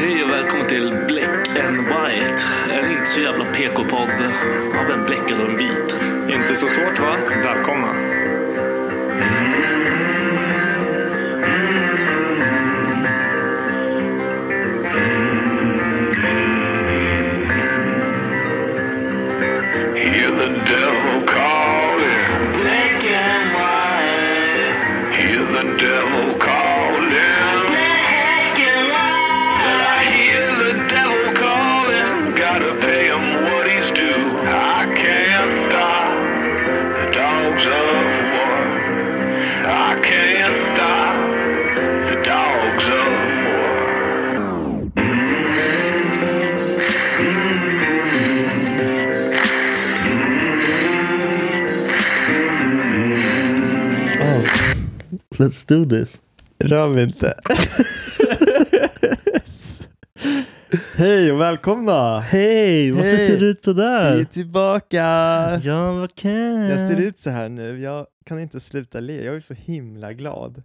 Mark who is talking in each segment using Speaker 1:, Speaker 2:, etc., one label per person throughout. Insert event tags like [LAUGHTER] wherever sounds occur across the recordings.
Speaker 1: Hej och välkommen till Black and White. En inte så jävla PK-podd av en bläckad och en vit.
Speaker 2: Inte så svårt va? Välkomna.
Speaker 3: Hear the devil calling. Black and white. Hear the devil calling. Black and white. I hear the devil calling. Gotta pay him what he's due. I can't stop the dogs of war. I can't stop the dogs of war.
Speaker 4: Let's do this.
Speaker 5: Rör mig inte. Hej och välkomna!
Speaker 4: Hej, varför
Speaker 5: Hej.
Speaker 4: ser du ut
Speaker 5: Vi är
Speaker 4: sådär?
Speaker 5: tillbaka!
Speaker 4: Ja, vad kul.
Speaker 5: Jag ser ut så här nu, jag kan inte sluta le. Jag är så himla glad.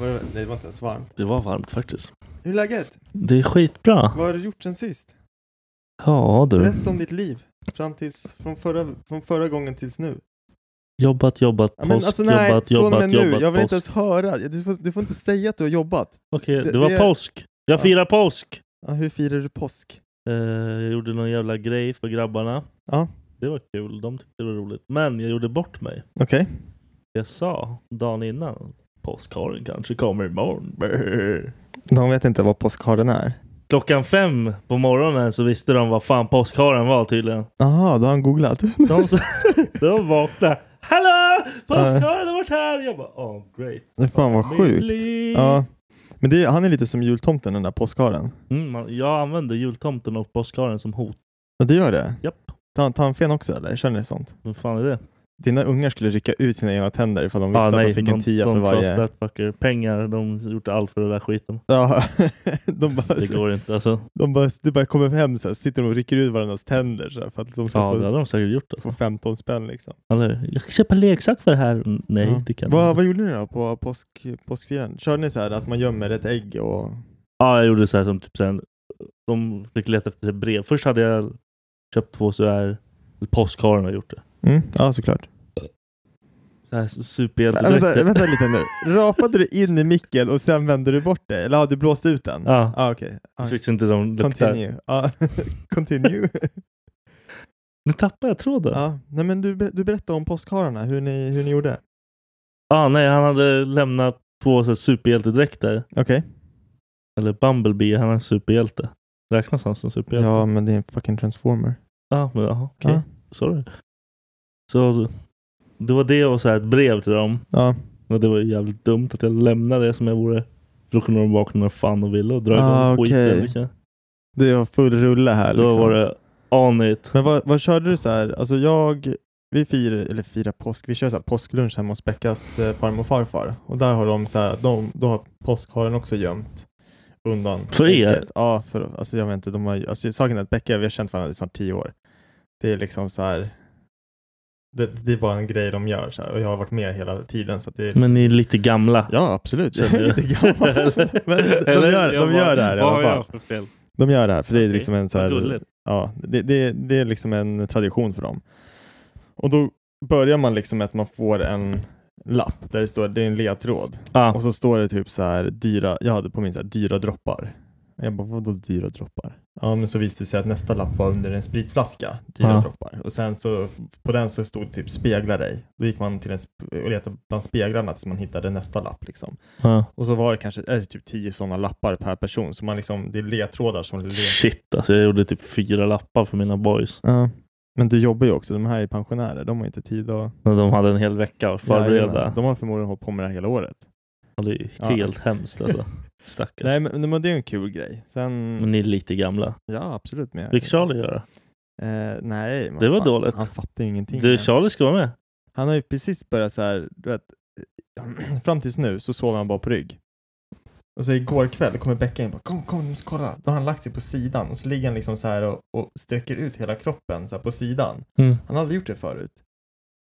Speaker 5: Var det, nej, det var inte ens varmt.
Speaker 4: Det var varmt faktiskt.
Speaker 5: Hur är läget?
Speaker 4: Det är skitbra.
Speaker 5: Vad har du gjort sen sist?
Speaker 4: Ja du.
Speaker 5: Berätta om ditt liv. Fram tills, från, förra, från förra gången tills nu.
Speaker 4: Jobbat, jobbat,
Speaker 5: Ja,
Speaker 4: påsk, jobbat,
Speaker 5: från och
Speaker 4: jobbat,
Speaker 5: med nu.
Speaker 4: jobbat,
Speaker 5: Jag vill
Speaker 4: påsk.
Speaker 5: inte ens höra. Du får, du får inte säga att du har jobbat.
Speaker 4: Okej,
Speaker 5: det-
Speaker 4: det var
Speaker 5: det-
Speaker 4: påsk. Jag
Speaker 5: Ja.
Speaker 4: firar påsk.
Speaker 5: Ja, hur firar du påsk?
Speaker 4: Eh, jag gjorde någon jävla grej för grabbarna.
Speaker 5: Ja.
Speaker 4: Det var kul. De tyckte det var roligt. Men jag gjorde bort mig.
Speaker 5: Okej.
Speaker 4: Jag sa dagen innan. Påskharen kanske kommer imorgon. Brr.
Speaker 5: [LAUGHS] De vet inte vad påskharen är.
Speaker 4: Klockan fem på morgonen så visste de vad fan påskharen var tydligen.
Speaker 5: Jaha, då har han googlat.
Speaker 4: De,
Speaker 5: [LAUGHS]
Speaker 4: så, [LAUGHS] de vaknade. Hallå! Påskharen har varit här! Jag bara oh great.
Speaker 5: Fan vad sjukt.
Speaker 4: Liv.
Speaker 5: Ja. Men det, han är lite som jultomten den där påskharen.
Speaker 4: Mm, man, jag använder jultomten och påskharen som hot.
Speaker 5: Ja, du gör det?
Speaker 4: Japp.
Speaker 5: Tar tar han fen också eller? Kör ni sånt?
Speaker 4: Vad fan är det? Ah,
Speaker 5: Dina ungar skulle rycka ut sina ena tänder ifall de visste att de fick en tia för
Speaker 4: don't trust
Speaker 5: varje.
Speaker 4: that fucker. Pengar, de har gjort allt för den där skiten.
Speaker 5: Ja, [LAUGHS] de bara,
Speaker 4: Det går inte alltså.
Speaker 5: de bara, det bara kommer hem så här, sitter de och rycker ut varandras tänder så här, för att de ska
Speaker 4: Ja, det
Speaker 5: få,
Speaker 4: hade de säkert gjort. Alltså.
Speaker 5: få 15 spänn liksom.
Speaker 4: Eller, jag kan köpa leksak för det här. Mm, Nej,
Speaker 5: ja.
Speaker 4: det kan jag
Speaker 5: vad,
Speaker 4: inte.
Speaker 5: vad gjorde ni då på påsk, påskfirandet? Körde ni så här att man gömmer ett ägg och...
Speaker 4: Ja, jag gjorde så här som typ sen. De fick leta efter ett brev. Först hade jag köpt två så här påskharen har gjort det.
Speaker 5: Mm, ja, såklart.
Speaker 4: Så här
Speaker 5: Äh, vänta,
Speaker 4: superhjältedräkter.
Speaker 5: vänta lite nu. Rapade du in i micken och sen vände du bort det? Eller ja, du blåste ut den?
Speaker 4: Ja.
Speaker 5: Ah, okej. Ah,
Speaker 4: Jag fick inte de luktar.
Speaker 5: Continue. Ja, [LAUGHS] continue.
Speaker 4: Nu tappar jag tråden.
Speaker 5: ja. Nej, men du, be- du berättade om påskhararna, hur ni, hur ni gjorde.
Speaker 4: Ah, nej, han hade lämnat två så här superhjältedräkter.
Speaker 5: Okej.
Speaker 4: Eller Bumblebee, han är en superhjälte. Räknas han som superhjälte?
Speaker 5: Ja, men det är en fucking transformer.
Speaker 4: Ah, men, aha, okej.
Speaker 5: Ja.
Speaker 4: Sorry. Så det var det och så här ett brev till dem.
Speaker 5: Ja,
Speaker 4: Och det var ju jävligt dumt att jag lämnade det som jag vore. Då kunde de vakna när fan och ville och dra igång
Speaker 5: Ah, okej.
Speaker 4: skiten. Liksom.
Speaker 5: det var full rulle här
Speaker 4: Då
Speaker 5: liksom.
Speaker 4: var det on it.
Speaker 5: Men vad, vad körde du så här? Alltså jag Vi firar, eller firar påsk, vi kör så här påsklunch hemma hos Beckas eh, farmor och farfar. Och där har de så här, de, då har påskharen också gömt undan.
Speaker 4: För er?
Speaker 5: ägget. Ja, för, alltså jag vet inte, de har, alltså saken är att Becka, vi har känt varandra i snart tio år. Det är liksom så här, det, det är bara en grej de gör så här, och jag har varit med hela tiden. Så att det är liksom,
Speaker 4: Men ni är lite gamla.
Speaker 5: Ja, [LAUGHS] absolut. Jag
Speaker 4: Känner
Speaker 5: är
Speaker 4: du?
Speaker 5: lite
Speaker 4: [LAUGHS]
Speaker 5: gammal. Men de,
Speaker 4: Eller?
Speaker 5: gör,
Speaker 4: Jag
Speaker 5: de gör det här i
Speaker 4: Vad har
Speaker 5: alla
Speaker 4: jag
Speaker 5: fall.
Speaker 4: för fel?
Speaker 5: De gör det här, för det är
Speaker 4: Okej,
Speaker 5: liksom en så
Speaker 4: vad
Speaker 5: här,
Speaker 4: gulligt.
Speaker 5: ja, det, det, det är liksom en tradition för dem. Och då börjar man liksom med att man får en lapp där det står, det är en ledtråd.
Speaker 4: Ja.
Speaker 5: Och så står det typ så här, dyra, jag hade på min så här, dyra droppar. Jag bara, vadå dyra droppar? Ja, men så visade det sig att nästa lapp var under en spritflaska, dyra
Speaker 4: Ja.
Speaker 5: droppar. Och sen så, på den så stod det typ spegla dig. Då gick man till en sp- och letade bland speglarna tills man hittade nästa lapp liksom.
Speaker 4: Ja.
Speaker 5: Och så var det kanske är det typ tio sådana lappar per person. Så man liksom, det är ledtrådar som... led-
Speaker 4: Shit alltså, jag gjorde typ fyra lappar för mina boys.
Speaker 5: Ja. Men du jobbar ju också. De här är pensionärer. De har inte tid att...
Speaker 4: När de hade en hel vecka att
Speaker 5: Jajamän.
Speaker 4: förbereda.
Speaker 5: De har förmodligen hållit på med det här hela året.
Speaker 4: Ja, det är
Speaker 5: Ja.
Speaker 4: helt hemskt
Speaker 5: [LAUGHS]
Speaker 4: alltså. Stackars.
Speaker 5: Nej, men, men det är en kul grej. Sen...
Speaker 4: Men ni är lite gamla.
Speaker 5: Ja, absolut. Men jag...
Speaker 4: Fick Charlie göra?
Speaker 5: Eh, nej. men
Speaker 4: Det var
Speaker 5: fan,
Speaker 4: dåligt.
Speaker 5: Han fattar ju ingenting.
Speaker 4: Du, Charlie ska vara med.
Speaker 5: Han har ju precis börjat så här, du vet, [CLEARS THROAT] fram tills nu så sover han bara på rygg. Och så igår kväll kommer Becka in och bara kom, kom, du måste kolla. Då har han lagt sig på sidan och så ligger han liksom så här och, och sträcker ut hela kroppen så här på sidan.
Speaker 4: Mm.
Speaker 5: Han har aldrig gjort det förut.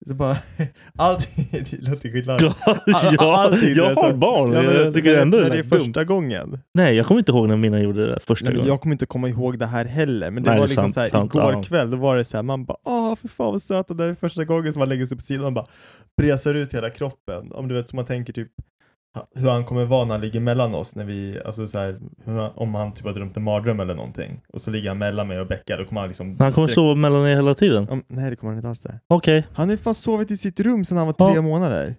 Speaker 5: Så bara, [LAUGHS] allting, [LAUGHS] det låter skitlarvigt.
Speaker 4: [LAUGHS] Ja, jag,
Speaker 5: allting, du
Speaker 4: jag
Speaker 5: vet,
Speaker 4: har
Speaker 5: så-
Speaker 4: barn.
Speaker 5: alltså. Ja, men
Speaker 4: jag tycker
Speaker 5: när,
Speaker 4: ändå
Speaker 5: när
Speaker 4: det,
Speaker 5: det
Speaker 4: är
Speaker 5: är
Speaker 4: dumt.
Speaker 5: första gången.
Speaker 4: Nej, jag kommer inte ihåg när mina gjorde det där första
Speaker 5: Nej, men
Speaker 4: gången.
Speaker 5: jag kommer inte komma ihåg det här heller, men det
Speaker 4: Nej, det är
Speaker 5: var liksom
Speaker 4: sant,
Speaker 5: så här,
Speaker 4: sant,
Speaker 5: igår
Speaker 4: ja.
Speaker 5: kväll, då var det så här, man bara åh för fan vad söta, det är första gången som man lägger sig på sidan och bara bresar ut hela kroppen. Om du vet, så man tänker typ ha- hur han kommer vara när han ligger mellan oss, när vi, alltså så här, hur han, om han typ har drömt en mardröm eller någonting. Och så ligger han mellan mig och Becka, då kommer han liksom...
Speaker 4: Han kommer
Speaker 5: sträck-
Speaker 4: sova mellan er hela tiden.
Speaker 5: Om, nej det kommer han inte alls det.
Speaker 4: Okej.
Speaker 5: Han har ju fan sovit i sitt rum sedan han var tre
Speaker 4: Ja.
Speaker 5: månader.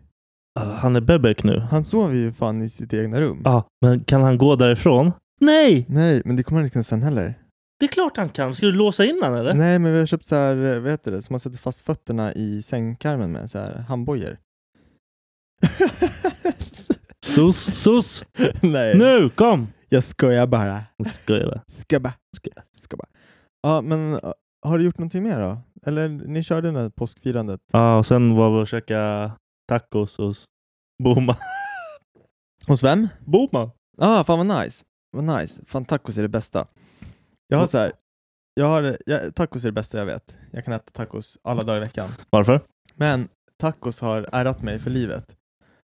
Speaker 4: Ah, Han är bebek nu.
Speaker 5: Han sover ju fan i sitt egna rum.
Speaker 4: Ah, men kan han gå därifrån? Nej!
Speaker 5: Nej, men det kommer han inte kunna sen heller.
Speaker 4: Det är klart han kan. Ska du låsa in han eller?
Speaker 5: Nej, men vi har köpt så här, eh, vad heter det, som man sätter fast fötterna i sängkarmen med, så här handbojor. [LAUGHS]
Speaker 4: Sus, sus!
Speaker 5: Nej,
Speaker 4: Nu, kom!
Speaker 5: jag skojar bara.
Speaker 4: Jag skojar bara.
Speaker 5: Skabba, skabba, skabba. Ja, men eh, har du gjort någonting mer då? Eller ni körde det där påskfirandet?
Speaker 4: Ja, och sen var vi och käkade tacos hos
Speaker 5: [LAUGHS]
Speaker 4: Boman.
Speaker 5: Hos vem?
Speaker 4: Boman?
Speaker 5: Ja, ah, fan vad nice. Vad nice. Fan, tacos är det bästa. Jag har så här, jag har, jag, tacos är det bästa jag vet. Jag kan äta tacos alla dagar i veckan.
Speaker 4: Varför?
Speaker 5: Men tacos har ärrat mig för livet.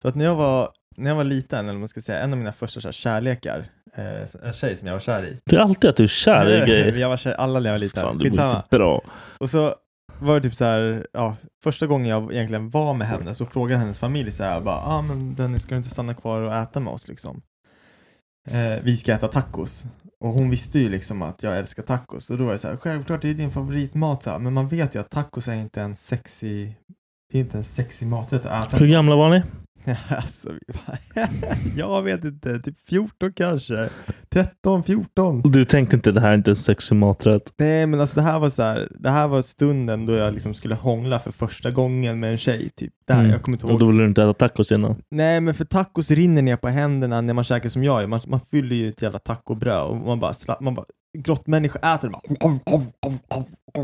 Speaker 5: Så att när jag var, när jag var liten, eller vad man ska säga, en av mina första så här, kärlekar, eh, en tjej som jag var kär i.
Speaker 4: Det är alltid att du är kär
Speaker 5: [LAUGHS]
Speaker 4: i grejer.
Speaker 5: jag var kär i alla när jag var liten.
Speaker 4: Fan, du mår
Speaker 5: Skitsamma.
Speaker 4: inte bra.
Speaker 5: Och så var det typ så här, ja, första gången jag egentligen var med henne så frågade hennes familj så här, bara, ah, men Dennis ska du inte stanna kvar och äta med oss liksom? Eh, vi ska äta tacos. Och hon visste ju liksom att jag älskar tacos och då var det så här, självklart det är din favoritmat så här, men man vet ju att tacos är inte en sexy, det är inte en sexy maträtt
Speaker 4: [LAUGHS]
Speaker 5: att äta. [LAUGHS]
Speaker 4: Hur gamla var ni?
Speaker 5: alltså, vi bara, [LAUGHS] jag vet inte, typ 14 kanske, 13, 14.
Speaker 4: Och Du tänkte inte det här är inte en sexig maträtt?
Speaker 5: Nej men alltså det här var så här, det här var stunden då jag liksom skulle hångla för första gången med en tjej typ. Det här,
Speaker 4: Mm.
Speaker 5: jag kommer inte
Speaker 4: Och
Speaker 5: ihåg.
Speaker 4: då ville du inte äta tacos innan?
Speaker 5: Nej men för tacos rinner ner på händerna när man käkar som jag gör. Man, man fyller ju ett jävla tacobröd och man bara, sla, man bara grottmänniska äter det bara.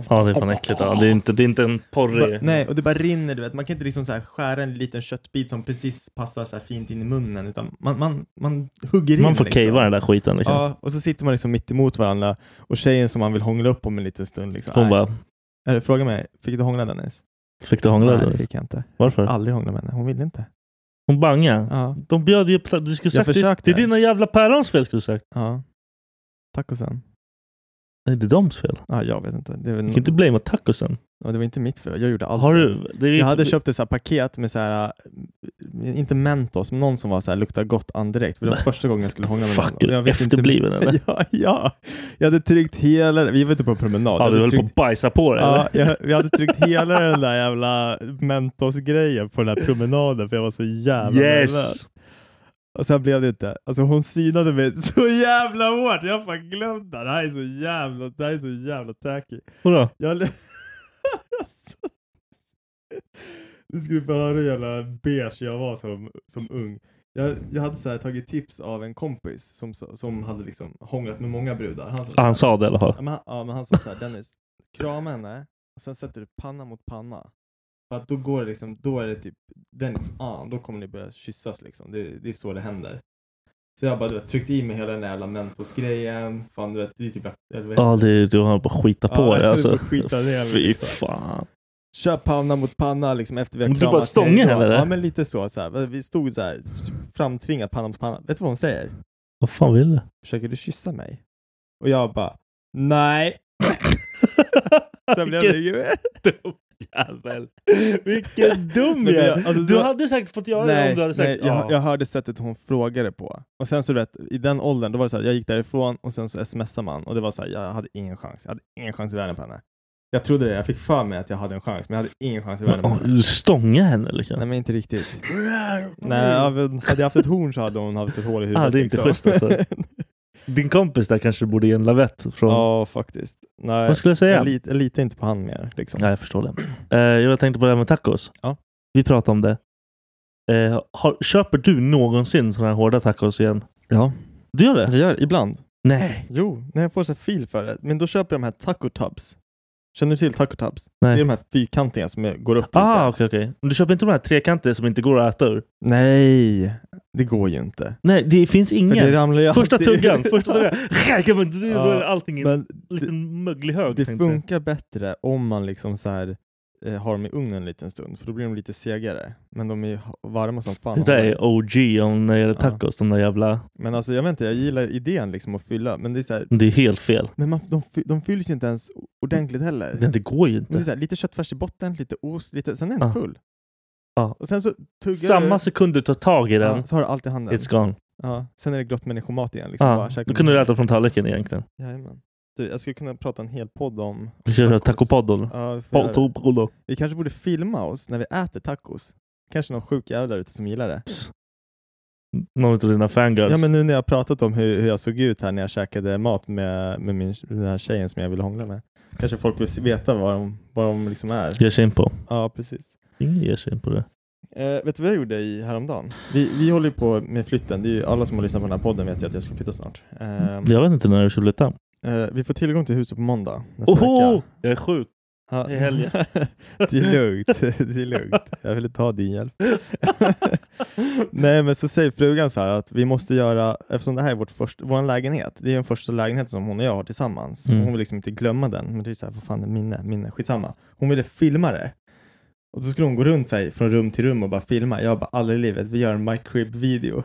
Speaker 4: Ja, det är fan äckligt. Ja, det, är inte, det är inte en porrig...
Speaker 5: Ba- Nej, och det bara rinner du vet. Man kan inte liksom så här skära en liten köttbit som precis passar så här fint in i munnen utan man, man, man hugger in
Speaker 4: Man får
Speaker 5: liksom.
Speaker 4: cavea den där skiten. Liksom.
Speaker 5: Ja, och så sitter man liksom mitt emot varandra och tjejen som man vill hångla upp om en liten stund liksom.
Speaker 4: Hon
Speaker 5: nej.
Speaker 4: bara,
Speaker 5: Eller fråga mig, fick du hångla Dennis?
Speaker 4: fick du hångla?
Speaker 5: Nej, det
Speaker 4: Dennis?
Speaker 5: fick jag inte.
Speaker 4: Varför?
Speaker 5: Aldrig hångla med henne, hon ville inte.
Speaker 4: Hon bangade.
Speaker 5: Ja,
Speaker 4: De bjöd ju på... Du skulle
Speaker 5: Jag
Speaker 4: sagt, det,
Speaker 5: försökte.
Speaker 4: det är dina jävla pärons fel skulle du sagt.
Speaker 5: ja. Tacosen?
Speaker 4: Nej, det är doms fel.
Speaker 5: Ja, jag vet inte. Det, var,
Speaker 4: Du kan inte blamea tacosen.
Speaker 5: ja, det var inte mitt fel, jag gjorde allt
Speaker 4: Har du...
Speaker 5: rätt.
Speaker 4: Det är,
Speaker 5: Jag hade köpt ett så här paket med så här, äh, inte Mentos, men någon som var så här luktar gott andedräkt. För det var första gången jag skulle hångla med
Speaker 4: Fuck,
Speaker 5: någon.
Speaker 4: är du
Speaker 5: [LAUGHS]
Speaker 4: efterbliven eller?
Speaker 5: ja, ja. Jag hade tryckt hela, vi var ute på en promenad. Jag
Speaker 4: Ja,
Speaker 5: hade
Speaker 4: du höll på
Speaker 5: tryckt-
Speaker 4: att bajsa på dig
Speaker 5: Ja,
Speaker 4: eller?
Speaker 5: jag, vi hade tryckt hela den där jävla Mentos-grejen på den här promenaden för jag var så jävla
Speaker 4: Yes!
Speaker 5: nervös. Och sen blev det inte. Alltså hon synade mig [LAUGHS] så jävla hårt. Jag fan glömde det. Det här är så jävla, det här är så jävla tacky.
Speaker 4: Vadå?
Speaker 5: Jag... l- alltså. [LAUGHS] Nu ska du få höra hur jävla beige jag var som, som ung. Jag, jag hade så här tagit tips av en kompis som, sa- som hade liksom hånglat med många brudar. Han sa så
Speaker 4: Ja,
Speaker 5: här-
Speaker 4: han sa det i alla fall.
Speaker 5: Ja men, han- ja, men han sa såhär, Dennis, krama henne och sen sätter du panna mot panna. För att då går det liksom, då är det typ, den liksom, ah, då kommer ni börja kyssas liksom. Det, det är så det händer. Så jag bara du vet, tryckte i mig hela den där jävla Mentos-grejen. Fan du vet, det är typ... Eller, vad
Speaker 4: Ja,
Speaker 5: heter
Speaker 4: det, du har bara skita
Speaker 5: Ja,
Speaker 4: på dig
Speaker 5: jag
Speaker 4: alltså.
Speaker 5: får skita ner mig,
Speaker 4: Fy
Speaker 5: liksom.
Speaker 4: fan.
Speaker 5: Kör panna mot panna liksom efter vi har
Speaker 4: Men du bara
Speaker 5: kramats
Speaker 4: stången,
Speaker 5: hela dagen.
Speaker 4: eller?
Speaker 5: Ja men lite så. så här. Vi stod så här framtvingat panna mot panna. Vet du vad hon säger?
Speaker 4: Vad fan vill [LAUGHS] du?
Speaker 5: Försöker du kyssa mig? Och jag bara nej.
Speaker 4: [LAUGHS]
Speaker 5: Sen blev det ju...
Speaker 4: dum jävel. [LAUGHS] Vilken
Speaker 5: [LAUGHS]
Speaker 4: dum
Speaker 5: Nej, men jag-
Speaker 4: jävel.
Speaker 5: alltså,
Speaker 4: du
Speaker 5: så-
Speaker 4: hade säkert fått göra det
Speaker 5: Nej,
Speaker 4: om du hade
Speaker 5: nej
Speaker 4: sagt "Ah."
Speaker 5: jag,
Speaker 4: ja.
Speaker 5: jag hörde sättet hon frågade på. Och sen så du vet, i den åldern, då var det så här, jag gick därifrån och sen så smsade man och det var så här, jag hade ingen chans. Jag hade ingen chans i världen på henne. Jag trodde det, jag fick för mig att jag hade en chans, men jag hade ingen chans i världen på
Speaker 4: Ja,
Speaker 5: henne.
Speaker 4: du stånga henne liksom.
Speaker 5: Nej men inte riktigt. Nej, jag vet- hade jag haft ett horn så hade hon haft ett hål i huvudet.
Speaker 4: Ah, det är inte
Speaker 5: liksom.
Speaker 4: schysst, alltså. Din kompis där kanske borde ge en lavett från...
Speaker 5: [LAUGHS] Ja, faktiskt. Nej,
Speaker 4: Vad skulle jag säga?
Speaker 5: Jag, lit, jag litar inte på han mer. Liksom.
Speaker 4: Nej, jag förstår det. Eh, jag tänkte på det här med tacos.
Speaker 5: Ja.
Speaker 4: Vi pratade om det. Eh, har, köper du någonsin sådana här hårda tacos igen?
Speaker 5: Ja.
Speaker 4: Du gör det?
Speaker 5: Jag gör ibland.
Speaker 4: Nej.
Speaker 5: Jo, när jag får så här fil för det. Men då köper jag de här taco tubs. Känner du till taco tubs?
Speaker 4: Nej.
Speaker 5: Det är de här fyrkantiga som jag går upp
Speaker 4: Ah,
Speaker 5: lite.
Speaker 4: okej, okej. Men du köper inte de här trekantiga som inte går att äta ur?
Speaker 5: Nej, det går ju inte.
Speaker 4: Nej, det finns
Speaker 5: För det
Speaker 4: ingen.
Speaker 5: ramlar ju
Speaker 4: Mm. Första
Speaker 5: [LAUGHS] alltid-
Speaker 4: tuggan, första tuggan. Det är
Speaker 5: Ja,
Speaker 4: Allting i en
Speaker 5: Men
Speaker 4: liten möglig hög.
Speaker 5: det
Speaker 4: tänkte jag säga.
Speaker 5: funkar bättre om man liksom så här eh, har dem i ugnen en liten stund, för då blir de lite segare. Men de är ju ha- varma som fan.
Speaker 4: Det där är OG om när det gäller tacos. De där jävla...
Speaker 5: Men alltså jag vet inte, jag gillar idén liksom att fylla, men det är så här,
Speaker 4: Det är helt fel.
Speaker 5: men man, de, fy- de fylls ju inte ens ordentligt heller.
Speaker 4: Nej,
Speaker 5: Men
Speaker 4: det går ju
Speaker 5: det är
Speaker 4: inte.
Speaker 5: så här, lite köttfärs i botten, lite ost, lite, sen är den
Speaker 4: Ja.
Speaker 5: full.
Speaker 4: Ja.
Speaker 5: Och sen så tuggar
Speaker 4: Samma
Speaker 5: du,
Speaker 4: sekund du tar tag i
Speaker 5: ja,
Speaker 4: den,
Speaker 5: så har du allt i handen.
Speaker 4: it's gone.
Speaker 5: Ja. Sen är det grått människomat igen. Liksom,
Speaker 4: Ja,
Speaker 5: bara käkar
Speaker 4: då kunde du äta från tallriken egentligen.
Speaker 5: Jajamän. Du, jag skulle kunna prata en hel podd om...
Speaker 4: Vi ska göra tacopodden.
Speaker 5: Ja, vi, får göra det.
Speaker 4: Tacopodden.
Speaker 5: vi kanske borde filma oss när vi äter tacos. Kanske någon sjuk jävel där ute som gillar det.
Speaker 4: Någon av dina fangirls.
Speaker 5: Ja men nu när jag har pratat om hur, hur jag såg ut här när jag käkade mat med, med min, den här tjejen som jag ville hångla med. Kanske folk vill se- veta vad de, vad de liksom är.
Speaker 4: Ge sig in på.
Speaker 5: Ja precis.
Speaker 4: Ingen ger sig in på det.
Speaker 5: Eh, vet du vad jag gjorde i häromdagen? Vi, vi håller ju på med flytten. Det är ju alla som har lyssnat på den här podden vet ju att jag ska flytta snart. Eh,
Speaker 4: Jag vet inte när du ska flytta.
Speaker 5: eh, vi får tillgång till huset på måndag nästa
Speaker 4: Oho!
Speaker 5: vecka.
Speaker 4: Jag är sjuk.
Speaker 5: Ja.
Speaker 4: det är helgen.
Speaker 5: [LAUGHS] det är lugnt. Det är lugnt. Jag vill inte ha din hjälp. [LAUGHS] Nej men så säger frugan så här att vi måste göra, eftersom det här är vårt först, vår lägenhet, det är den första lägenheten som hon och jag har tillsammans.
Speaker 4: Mm.
Speaker 5: Hon vill liksom inte glömma den, men det är så här, vad fan, minne, minne, skitsamma. Hon ville filma det. Och då skulle hon gå runt sig från rum till rum och bara filma. Jag bara, aldrig i livet, vi gör en My Crib-video.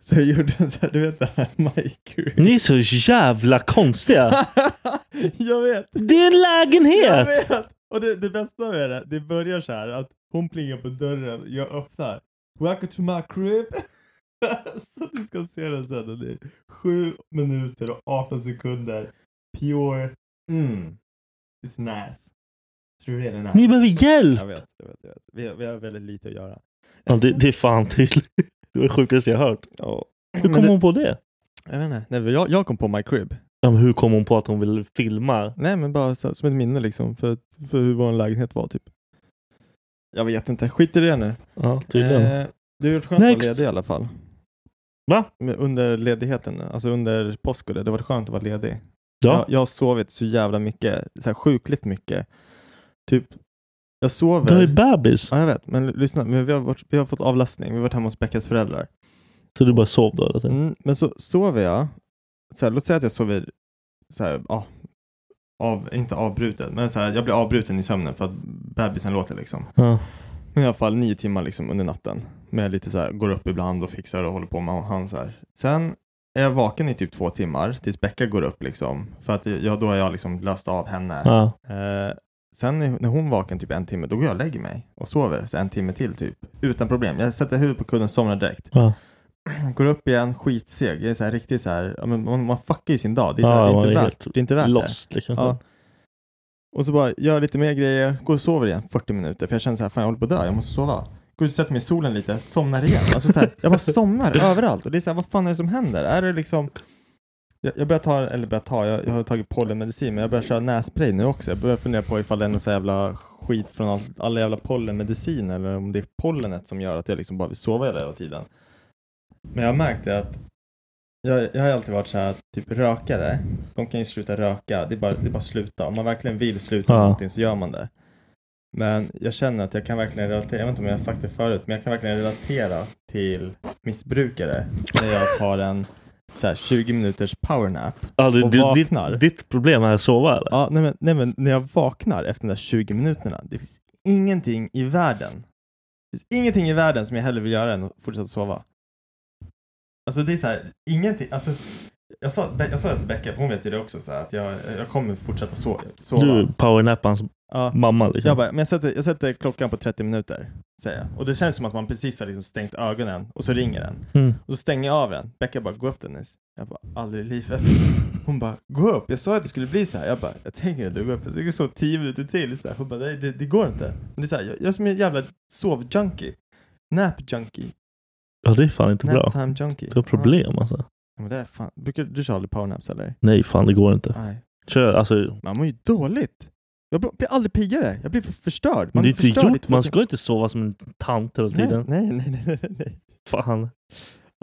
Speaker 5: Så jag gjorde en så här, du vet det här, My Crib.
Speaker 4: Ni är så jävla konstiga.
Speaker 5: [LAUGHS] jag vet!
Speaker 4: Det är en
Speaker 5: Jag
Speaker 4: lägenhet!
Speaker 5: vet! Och det, det bästa med det, det börjar så här att hon plingar på dörren, jag öppnar. Welcome to my crib! [LAUGHS] så att ni ska se den sen. och Det är 7 minuter och 18 sekunder. Pure. Mm. It's nice. Tror du det är nice?
Speaker 4: Ni behöver hjälp!
Speaker 5: Jag vet, jag vet, jag vet. Vi, har- vi har väldigt lite att göra.
Speaker 4: Ja, det, det är fan tydligt. [LAUGHS] Det var det sjukaste jag hört.
Speaker 5: Ja.
Speaker 4: Hur
Speaker 5: Men
Speaker 4: kom
Speaker 5: det-
Speaker 4: hon på det?
Speaker 5: Jag vet inte. Nej, men jag, jag kom på my crib.
Speaker 4: Ja, men hur kom hon på att hon ville filma?
Speaker 5: Nej men bara så, som ett minne liksom för, att- för hur vår lägenhet var typ. Jag vet inte, skit i det nu.
Speaker 4: Ja, tydligen.
Speaker 5: Eh, det har varit skönt att
Speaker 4: Next.
Speaker 5: vara ledig i alla fall.
Speaker 4: Va?
Speaker 5: Men Under ledigheten, alltså under påsk och det, det har varit skönt att vara ledig. Jag,
Speaker 4: ja.
Speaker 5: jag har sovit så jävla mycket, så här sjukligt mycket. Typ, jag
Speaker 4: Du har
Speaker 5: sover.
Speaker 4: ju bebis.
Speaker 5: Ja, jag vet, men l- lyssna, men vi, har varit, vi har fått avlastning, vi har varit hemma hos Beckas föräldrar.
Speaker 4: Så du bara sov då? Eller?
Speaker 5: Mm, men så sover jag, så här, låt säga att jag sover, så här, ja, av, inte avbruten, men så här, jag blir avbruten i sömnen för att bebisen låter liksom.
Speaker 4: Ja.
Speaker 5: Men i alla fall nio timmar liksom under natten. Med lite så här, går upp ibland och fixar och håller på med han så här. Sen är jag vaken i typ två timmar tills Becka går upp liksom. För att jag, då har jag liksom löst av henne.
Speaker 4: Ja.
Speaker 5: Eh, sen när när hon är vaken typ en timme, då går jag och lägger mig och sover så en timme till typ. Utan problem. Jag sätter huvudet på kudden, somnar direkt.
Speaker 4: Ja.
Speaker 5: [CLEARS THROAT] Går upp igen, skitseg. Jag är så här riktigt så här, ja, men man, man fuckar ju sin dag. Det är, så här,
Speaker 4: Ja,
Speaker 5: det är
Speaker 4: man
Speaker 5: inte
Speaker 4: är
Speaker 5: värt,
Speaker 4: helt
Speaker 5: det. Är inte värt det.
Speaker 4: Lost liksom.
Speaker 5: Ja. Och så bara gör lite mer grejer, går och sover igen 40 minuter för jag känner så här, fan jag håller på att dö, jag måste sova. Går ut och sätter mig i solen lite, somnar igen. Alltså så här, jag bara somnar överallt och det är så här, vad fan är det som händer? Är det liksom jag, jag börjar ta, eller börjar ta, jag, jag har tagit pollenmedicin men jag börjar köra nässpray nu också. Jag börjar fundera på ifall det är någon så här jävla skit från all, alla jävla pollenmedicin eller om det är pollenet som gör att jag liksom bara vill sova hela, hela tiden. Men jag har märkt det att jag, jag har alltid varit så här, typ rökare, de kan ju sluta röka, det är bara, det är bara att sluta. Om man verkligen vill sluta
Speaker 4: Ja.
Speaker 5: någonting så gör man det. Men jag känner att jag kan verkligen relatera, jag vet inte om jag har sagt det förut, men jag kan verkligen relatera till missbrukare när jag tar en så här, 20 minuters powernap
Speaker 4: Ja, du,
Speaker 5: och
Speaker 4: du,
Speaker 5: vaknar.
Speaker 4: ditt, ditt problem är att sova eller?
Speaker 5: Ja, nej, men, nej, men när jag vaknar efter de där 20 minuterna, det finns ingenting i världen. Det finns ingenting i världen som jag hellre vill göra än att fortsätta sova. Alltså det är så här, ingenting, alltså jag sa, Be- jag sa det till Becka, för hon vet ju det också, så här, att jag, jag kommer fortsätta so- sova.
Speaker 4: Du är powernappans
Speaker 5: Ja.
Speaker 4: mamma liksom.
Speaker 5: Jag, bara, men jag, sätter, jag sätter klockan på 30 minuter, säger jag. Och det känns som att man precis har liksom stängt ögonen och så ringer den.
Speaker 4: Mm.
Speaker 5: Och så stänger jag av den. Becka bara, gå upp Dennis. Jag bara, aldrig
Speaker 4: [LAUGHS]
Speaker 5: i livet. Hon bara, gå upp. Jag sa att det skulle bli så här. Jag bara, jag tänker inte gå upp. Jag tänker så 10 minuter till. Så här. Hon bara, nej det, det går inte. Men det är så här, jag, jag är som en jävla sovjunkie. Nap-junkie.
Speaker 4: Ja, det är fan inte bra.
Speaker 5: Nap-time-junkie.
Speaker 4: Du har problem alltså.
Speaker 5: Ja, men det är fan. Brukar, du kör aldrig powernaps eller?
Speaker 4: Nej, fan det går inte.
Speaker 5: Nej.
Speaker 4: Kör, alltså,
Speaker 5: Man mår ju dåligt. Jag blir blir aldrig piggare. Jag blir förstörd.
Speaker 4: man, det är inte
Speaker 5: förstörd i
Speaker 4: gjort.
Speaker 5: två
Speaker 4: man
Speaker 5: timmar.
Speaker 4: ska inte sova som en tant hela tiden.
Speaker 5: Nej, nej, nej, nej, nej.
Speaker 4: Fan.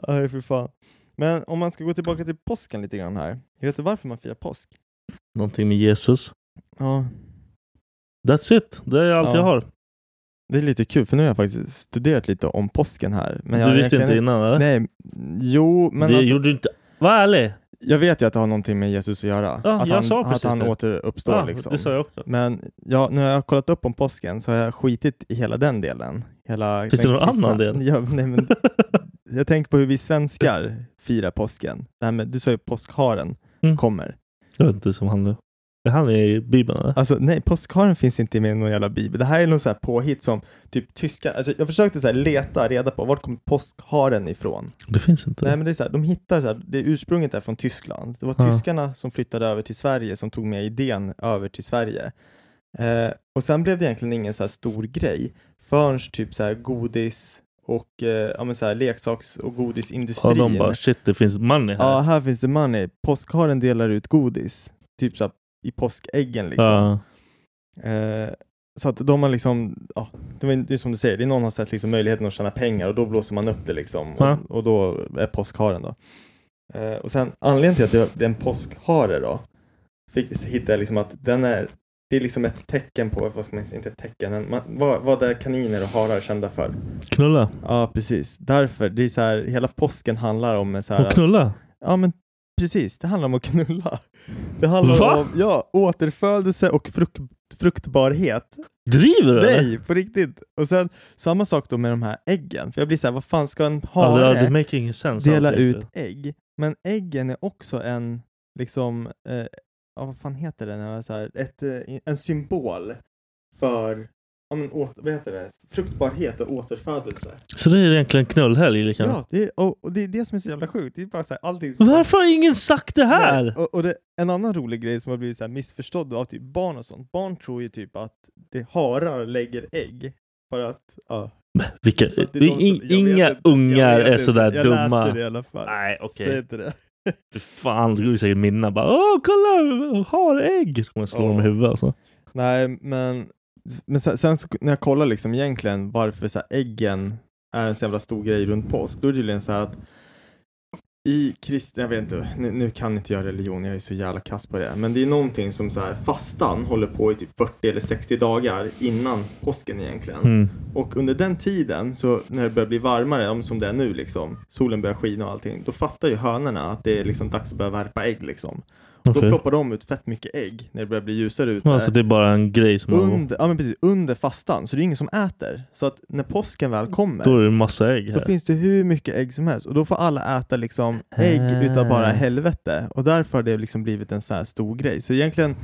Speaker 5: Aj, för fan. Men om man ska gå tillbaka till påsken lite grann här. Vet du varför man firar påsk?
Speaker 4: Någonting med Jesus.
Speaker 5: Ja.
Speaker 4: That's it. Det är allt
Speaker 5: Ja.
Speaker 4: jag har.
Speaker 5: Det är lite kul, för nu har jag faktiskt studerat lite om påsken här. Men jag
Speaker 4: du visste inte
Speaker 5: egentligen-
Speaker 4: innan eller?
Speaker 5: Nej, jo, men
Speaker 4: det
Speaker 5: alltså,
Speaker 4: gjorde du inte. Var ärlig.
Speaker 5: jag vet ju att det har någonting med Jesus att göra.
Speaker 4: Ja,
Speaker 5: att
Speaker 4: jag
Speaker 5: han,
Speaker 4: sa
Speaker 5: att
Speaker 4: precis
Speaker 5: han
Speaker 4: det.
Speaker 5: återuppstår
Speaker 4: Ja,
Speaker 5: liksom.
Speaker 4: Det sa jag också.
Speaker 5: Men ja, nu har jag kollat upp om påsken så har jag skitit i hela den delen. Hela
Speaker 4: Finns
Speaker 5: den
Speaker 4: det någon
Speaker 5: kristna-
Speaker 4: annan del?
Speaker 5: [LAUGHS] Ja,
Speaker 4: [LAUGHS]
Speaker 5: nej, men, jag tänker på hur vi svenskar firar påsken. Det här med, du sa ju påskharen
Speaker 4: Mm.
Speaker 5: kommer.
Speaker 4: Jag vet inte som han nu. Är Han är i Bibeln eller?
Speaker 5: Alltså nej, påskharen finns inte med i någon jävla bibel. Det här är någon så här påhitt som typ tyska. Alltså, jag försökte så här leta reda på vart kommer påskharen ifrån?
Speaker 4: Det finns inte.
Speaker 5: Nej men det är så här, de hittar så här, det ursprunget är från Tyskland. Det var
Speaker 4: Ja.
Speaker 5: tyskarna som flyttade över till Sverige som tog med idén över till Sverige. Eh, och sen blev det egentligen ingen så här stor grej förrän typ så här godis och eh, ja, men så här, leksaks och
Speaker 4: ja,
Speaker 5: godisindustrin.
Speaker 4: de bara shit det finns money här.
Speaker 5: ja, här finns det money. Påskharen delar ut godis, typ så här, i påskäggen liksom.
Speaker 4: Ja.
Speaker 5: Eh, så att de har liksom, ja, det, var, det är som du säger, det är någon har sett liksom möjligheten att tjäna pengar och då blåser man upp det liksom.
Speaker 4: Ja.
Speaker 5: Och, och då är påskharen då. Eh, och sen anledningen till att det, det är en påskhare då, fick, så hittade jag liksom att den är, det är liksom ett tecken på, vad ska man säga, inte ett tecken, men man, vad, vad är kaniner och harar kända för?
Speaker 4: Knulla.
Speaker 5: Ja, precis. Därför, det är så här, hela påsken handlar om en så här,
Speaker 4: Och knulla.
Speaker 5: ja men precis, det handlar om att knulla. Det handlar
Speaker 4: Va?
Speaker 5: om, ja, återfödelse och frukt, fruktbarhet.
Speaker 4: Driver du eller?
Speaker 5: Nej, på riktigt. Och sen samma sak då med de här äggen. För jag blir så här, vad fan ska en
Speaker 4: Ja, det-
Speaker 5: hare
Speaker 4: det make ingen sense.
Speaker 5: dela
Speaker 4: alls
Speaker 5: ut
Speaker 4: egentligen.
Speaker 5: ägg? Men äggen är också en, liksom, eh, ja, vad fan heter det? När så här, ett, eh, en symbol för ja, men, åter, vad heter det? fruktbarhet och återfödelse.
Speaker 4: Så det är egentligen knullhelg liksom.
Speaker 5: Ja, det är, och, och det är det som är så jävla sjukt. Det är bara så här, allting som-
Speaker 4: Varför har ingen sagt det här?
Speaker 5: Nej, Och, och det, en annan rolig grej som har blivit så här missförstådd av typ barn och sånt. Barn tror ju typ att det harar lägger ägg. För att, ja.
Speaker 4: Vilka,
Speaker 5: För att det är
Speaker 4: vi-
Speaker 5: de som-
Speaker 4: in,
Speaker 5: jag vet
Speaker 4: inga
Speaker 5: inte, jag
Speaker 4: ungar
Speaker 5: vet
Speaker 4: är
Speaker 5: inte.
Speaker 4: sådär
Speaker 5: Jag läste det
Speaker 4: dumma.
Speaker 5: i alla fall.
Speaker 4: Nej, okej.
Speaker 5: Säg inte det.
Speaker 4: Fy Fan, det går ju säkert minna bara Åh, kolla! Har ägg! Så kommer jag slå
Speaker 5: Ja.
Speaker 4: dem i huvudet alltså.
Speaker 5: Nej, men, men sen, sen så, när jag kollar liksom egentligen varför så här, äggen är en så jävla stor grej runt påsk, då är det tydligen så här att i kristen, jag vet inte, nu, nu kan inte jag religion, jag är så jävla kass på det, men det är någonting som så här, fastan håller på i typ 40 eller 60 dagar innan påsken egentligen.
Speaker 4: Mm.
Speaker 5: Och under den tiden, så när det börjar bli varmare, om som det är nu liksom, solen börjar skina och allting, då fattar ju hönorna att det är liksom dags att börja värpa ägg liksom. Då
Speaker 4: Okej.
Speaker 5: ploppar de ut fett mycket ägg när det börjar bli ljusare ute.
Speaker 4: Alltså det är bara en grej som man...
Speaker 5: Under, ja, men precis, under fastan, så det är ingen som äter. Så att när påsken väl kommer,
Speaker 4: Då
Speaker 5: då,
Speaker 4: är det en massa ägg här.
Speaker 5: finns det hur mycket ägg som helst. Och då får alla äta liksom ägg
Speaker 4: Ah.
Speaker 5: utav bara helvete. Och därför har det liksom blivit en så här stor grej. Så egentligen,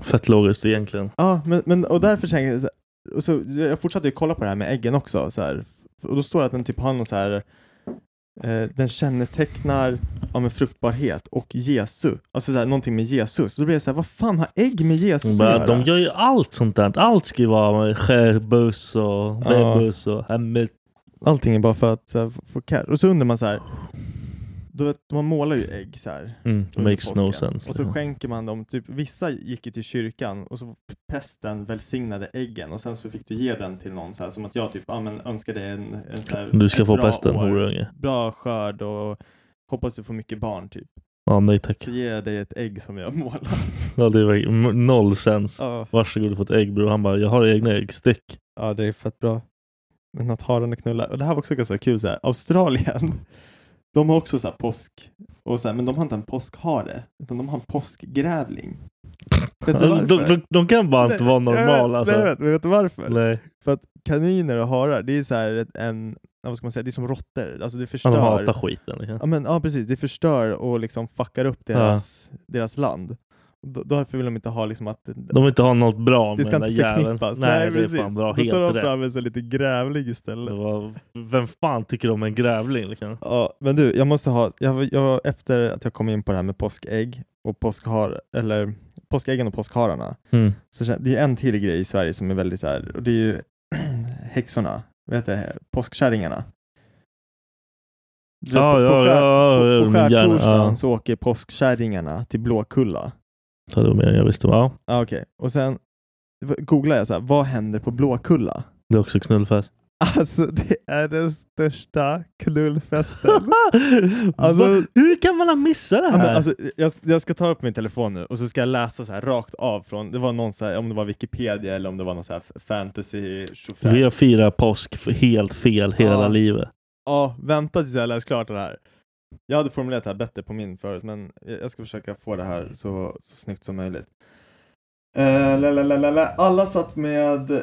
Speaker 4: Fett logiskt egentligen.
Speaker 5: ja, men, men och därför tänker jag, så här- och så, jag fortsatte ju kolla på det här med äggen också. Så här, och då står det att den typ har någon så här, eh, den kännetecknar ja, men fruktbarhet och Jesu. Alltså så här, någonting med Jesus. Så då blir jag så här, vad fan har ägg med Jesus att
Speaker 4: Bara,
Speaker 5: göra?
Speaker 4: de gör ju allt sånt där. Allt ska ju vara skärbuss och bebus och hemmet.
Speaker 5: Allting är bara för att så här, få- få cash. Och så undrar man så här. Du vet, man målar ju ägg så här.
Speaker 4: Mm,
Speaker 5: under
Speaker 4: makes no
Speaker 5: påsken.
Speaker 4: sense. liksom.
Speaker 5: Och så skänker man dem, typ, vissa gick ju till kyrkan och så prästen välsignade äggen och sen så fick du ge den till någon så här som att jag typ, ja men önskar dig en, en så här,
Speaker 4: du ska
Speaker 5: ett
Speaker 4: få
Speaker 5: bra
Speaker 4: pesten
Speaker 5: år,
Speaker 4: horunge.
Speaker 5: Bra skörd och hoppas du får mycket barn typ.
Speaker 4: Ja, nej tack.
Speaker 5: Så ger jag dig ett ägg som jag
Speaker 4: [LAUGHS]
Speaker 5: har målat.
Speaker 4: Ja, det var m- noll sens.
Speaker 5: Ja.
Speaker 4: Varsågod du får ett ägg bror. Han bara, jag har egna ägg. Stick.
Speaker 5: ja, det är fett bra. Men att ha den och knulla. Och det här var också ganska kul. Så här. Australien, [LAUGHS] de har också så här påsk. Och så här, men de har inte en påskhare, utan de har en påskgrävling. Vet du
Speaker 4: Alltså, [LAUGHS]
Speaker 5: varför?
Speaker 4: de, de, de kan bara inte vara
Speaker 5: jag vet,
Speaker 4: normala
Speaker 5: Nej, jag
Speaker 4: alltså.
Speaker 5: vet, men vet du varför?
Speaker 4: Nej. Alltså,
Speaker 5: För att kaniner och harar, det är så här ett- en, ja, vad ska man säga, det är som råttor. Alltså det förstör.
Speaker 4: Han hatar skiten. liksom.
Speaker 5: Ja, men, ja precis, det förstör och liksom fuckar upp deras, deras land. Då, därför vill de inte ha liksom att
Speaker 4: De vill inte ha något bra
Speaker 5: det
Speaker 4: med
Speaker 5: ska
Speaker 4: den
Speaker 5: inte
Speaker 4: där jäveln.
Speaker 5: förknippas.
Speaker 4: Nej, det är
Speaker 5: precis.
Speaker 4: fan bra.
Speaker 5: Då tar
Speaker 4: Helt
Speaker 5: de
Speaker 4: rätt.
Speaker 5: fram en så här lite grävling istället.
Speaker 4: Det var, vem fan tycker om en grävling? Liksom?
Speaker 5: Ja, men du, jag måste ha, jag, jag, efter att jag kom in på det här med påskägg och påskhar, eller påskäggen och påskhararna,
Speaker 4: Mm.
Speaker 5: så kän- det är en till grej i Sverige som är väldigt så här, och det är ju [CLEARS THROAT] häxorna, vad heter det, påskkärringarna. Du vet,
Speaker 4: Ja,
Speaker 5: på,
Speaker 4: ja,
Speaker 5: på, skär,
Speaker 4: ja, ja,
Speaker 5: på, på
Speaker 4: min hjärna,
Speaker 5: skärtorsdagen
Speaker 4: ja.
Speaker 5: så åker påskkärringarna till Blåkulla.
Speaker 4: Ja, det var mer än jag visste. Ja,
Speaker 5: Ah, Okej, och sen googlar jag så här, vad händer på Blåkulla? [LAUGHS]
Speaker 4: det är också knullfest.
Speaker 5: Alltså det är den största
Speaker 4: [LAUGHS]
Speaker 5: knullfesten. Alltså-
Speaker 4: Va? Hur kan man ha missat det
Speaker 5: Ja,
Speaker 4: här?
Speaker 5: men alltså, jag, jag ska ta upp min telefon nu och så ska jag läsa så här rakt av från, det var någon så här, om det var Wikipedia eller om det var någon så här f- fantasy tjofräs.
Speaker 4: Vi har firat påsk f- helt fel hela
Speaker 5: alltså- Ja.
Speaker 4: livet.
Speaker 5: Ja, vänta tills jag läst klart det här. Jag hade formulerat det här bättre på min förut, men jag jag ska försöka få det här så, så snyggt som möjligt. Eh, la, la, la, la, la. Alla satt med, eh,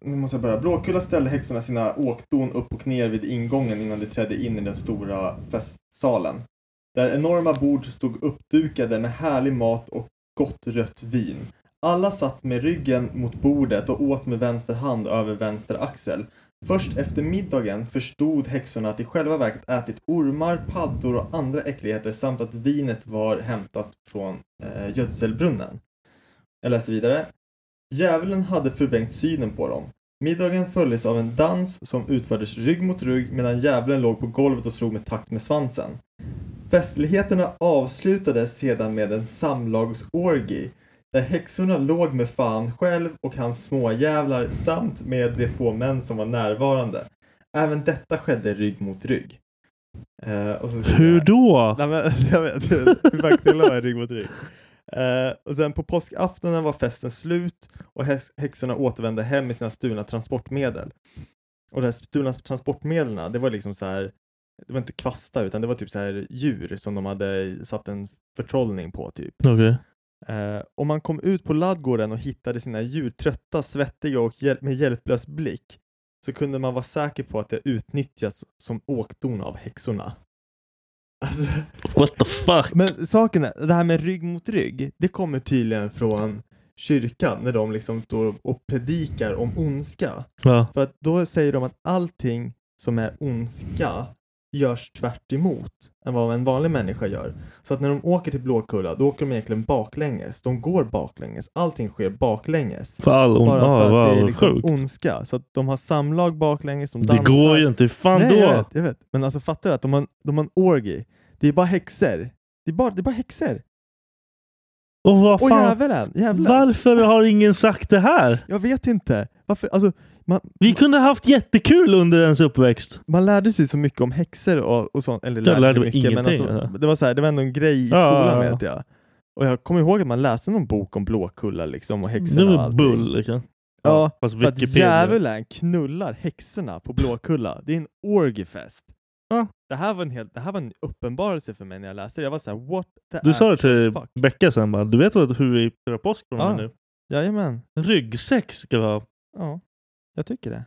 Speaker 5: nu måste jag börja, Blåkulla ställde häxorna sina åkdon upp och ner vid ingången innan de trädde in i den stora festsalen. Där enorma bord stod uppdukade med härlig mat och gott rött vin. Alla satt med ryggen mot bordet och åt med vänster hand över vänster axel. Först efter middagen förstod häxorna att de själva verket ätit ormar, paddor och andra äckligheter samt att vinet var hämtat från eh, gödselbrunnen. Jag läser vidare. Djävulen hade förvrängt synen på dem. Middagen följdes av en dans som utfördes rygg mot rygg medan djävulen låg på golvet och slog med takt med svansen. Festligheterna avslutades sedan med en samlagsorgi där häxorna låg med fan själv och hans småjävlar samt med de få män som var närvarande. Även detta skedde rygg mot rygg. Eh, och så ska vi
Speaker 4: Hur
Speaker 5: säga-
Speaker 4: då?
Speaker 5: Nej, men, [LAUGHS] jag vet, hur fan knullar man rygg mot rygg? Eh, och sen på påskaftonen var festen slut och häx- häxorna återvände hem med sina stulna transportmedel. Och de här stulna transportmedlen, det var liksom så här, det var inte kvastar utan det var typ så här djur som de hade satt en förtrollning på typ.
Speaker 4: Okej.
Speaker 5: Eh, om man kom ut på laddgården och hittade sina djur trötta, svettiga och hjäl- med hjälplös blick så kunde man vara säker på att det utnyttjats som åkdon av häxorna. Alltså,
Speaker 4: What the fuck?
Speaker 5: men saken är, det här med rygg mot rygg, det kommer tydligen från kyrkan när de liksom står och predikar om ondska.
Speaker 4: Ja.
Speaker 5: För att då säger de att allting som är ondska görs tvärt emot än vad en vanlig människa gör. Så att när de åker till Blåkulla, då åker de egentligen baklänges. De går baklänges. Allting sker baklänges.
Speaker 4: För all ond...
Speaker 5: Bara
Speaker 4: Ja,
Speaker 5: för att det är
Speaker 4: ah, vad
Speaker 5: liksom
Speaker 4: sjukt.
Speaker 5: ondska. Så att de har samlag baklänges, de dansar.
Speaker 4: Det går ju inte. Hur fan
Speaker 5: Nej, jag
Speaker 4: då?
Speaker 5: vet, jag vet. Men alltså fattar du att de har, de har en orgy. Det är bara häxor. Det är bara, det är bara häxor.
Speaker 4: Och vad
Speaker 5: Och
Speaker 4: fan?
Speaker 5: djävulen, djävulen.
Speaker 4: Varför har ingen sagt det här?
Speaker 5: Jag vet inte. Varför? Alltså, man,
Speaker 4: Vi kunde haft jättekul under ens uppväxt.
Speaker 5: man lärde sig så mycket om häxor och, och sånt. Eller
Speaker 4: Jag
Speaker 5: lärde,
Speaker 4: lärde
Speaker 5: sig
Speaker 4: mig
Speaker 5: mycket, men
Speaker 4: ingenting,
Speaker 5: alltså,
Speaker 4: alltså.
Speaker 5: det, var så här, det var ändå en grej i
Speaker 4: Ja,
Speaker 5: skolan
Speaker 4: ja, ja.
Speaker 5: vet jag. Och jag kommer ihåg att man läste någon bok om Blåkulla liksom och
Speaker 4: Det
Speaker 5: häxorna och
Speaker 4: var
Speaker 5: allting.
Speaker 4: bull liksom.
Speaker 5: Ja,
Speaker 4: Fast
Speaker 5: för att
Speaker 4: Wikipedia.
Speaker 5: djävulen knullar häxorna på Blåkulla. Det är en orgiefest.
Speaker 4: Ja.
Speaker 5: Det, här var en helt, det här var en uppenbarelse för mig när jag läste det. Jag var så här, what the
Speaker 4: Du sa det till
Speaker 5: fuck?
Speaker 4: Becka sen bara. Du vet vad, hur vi firar påsk från och med
Speaker 5: Ja.
Speaker 4: nu?
Speaker 5: Jajamän.
Speaker 4: Ryggsäck ska vi ha.
Speaker 5: Ja, jag tycker det.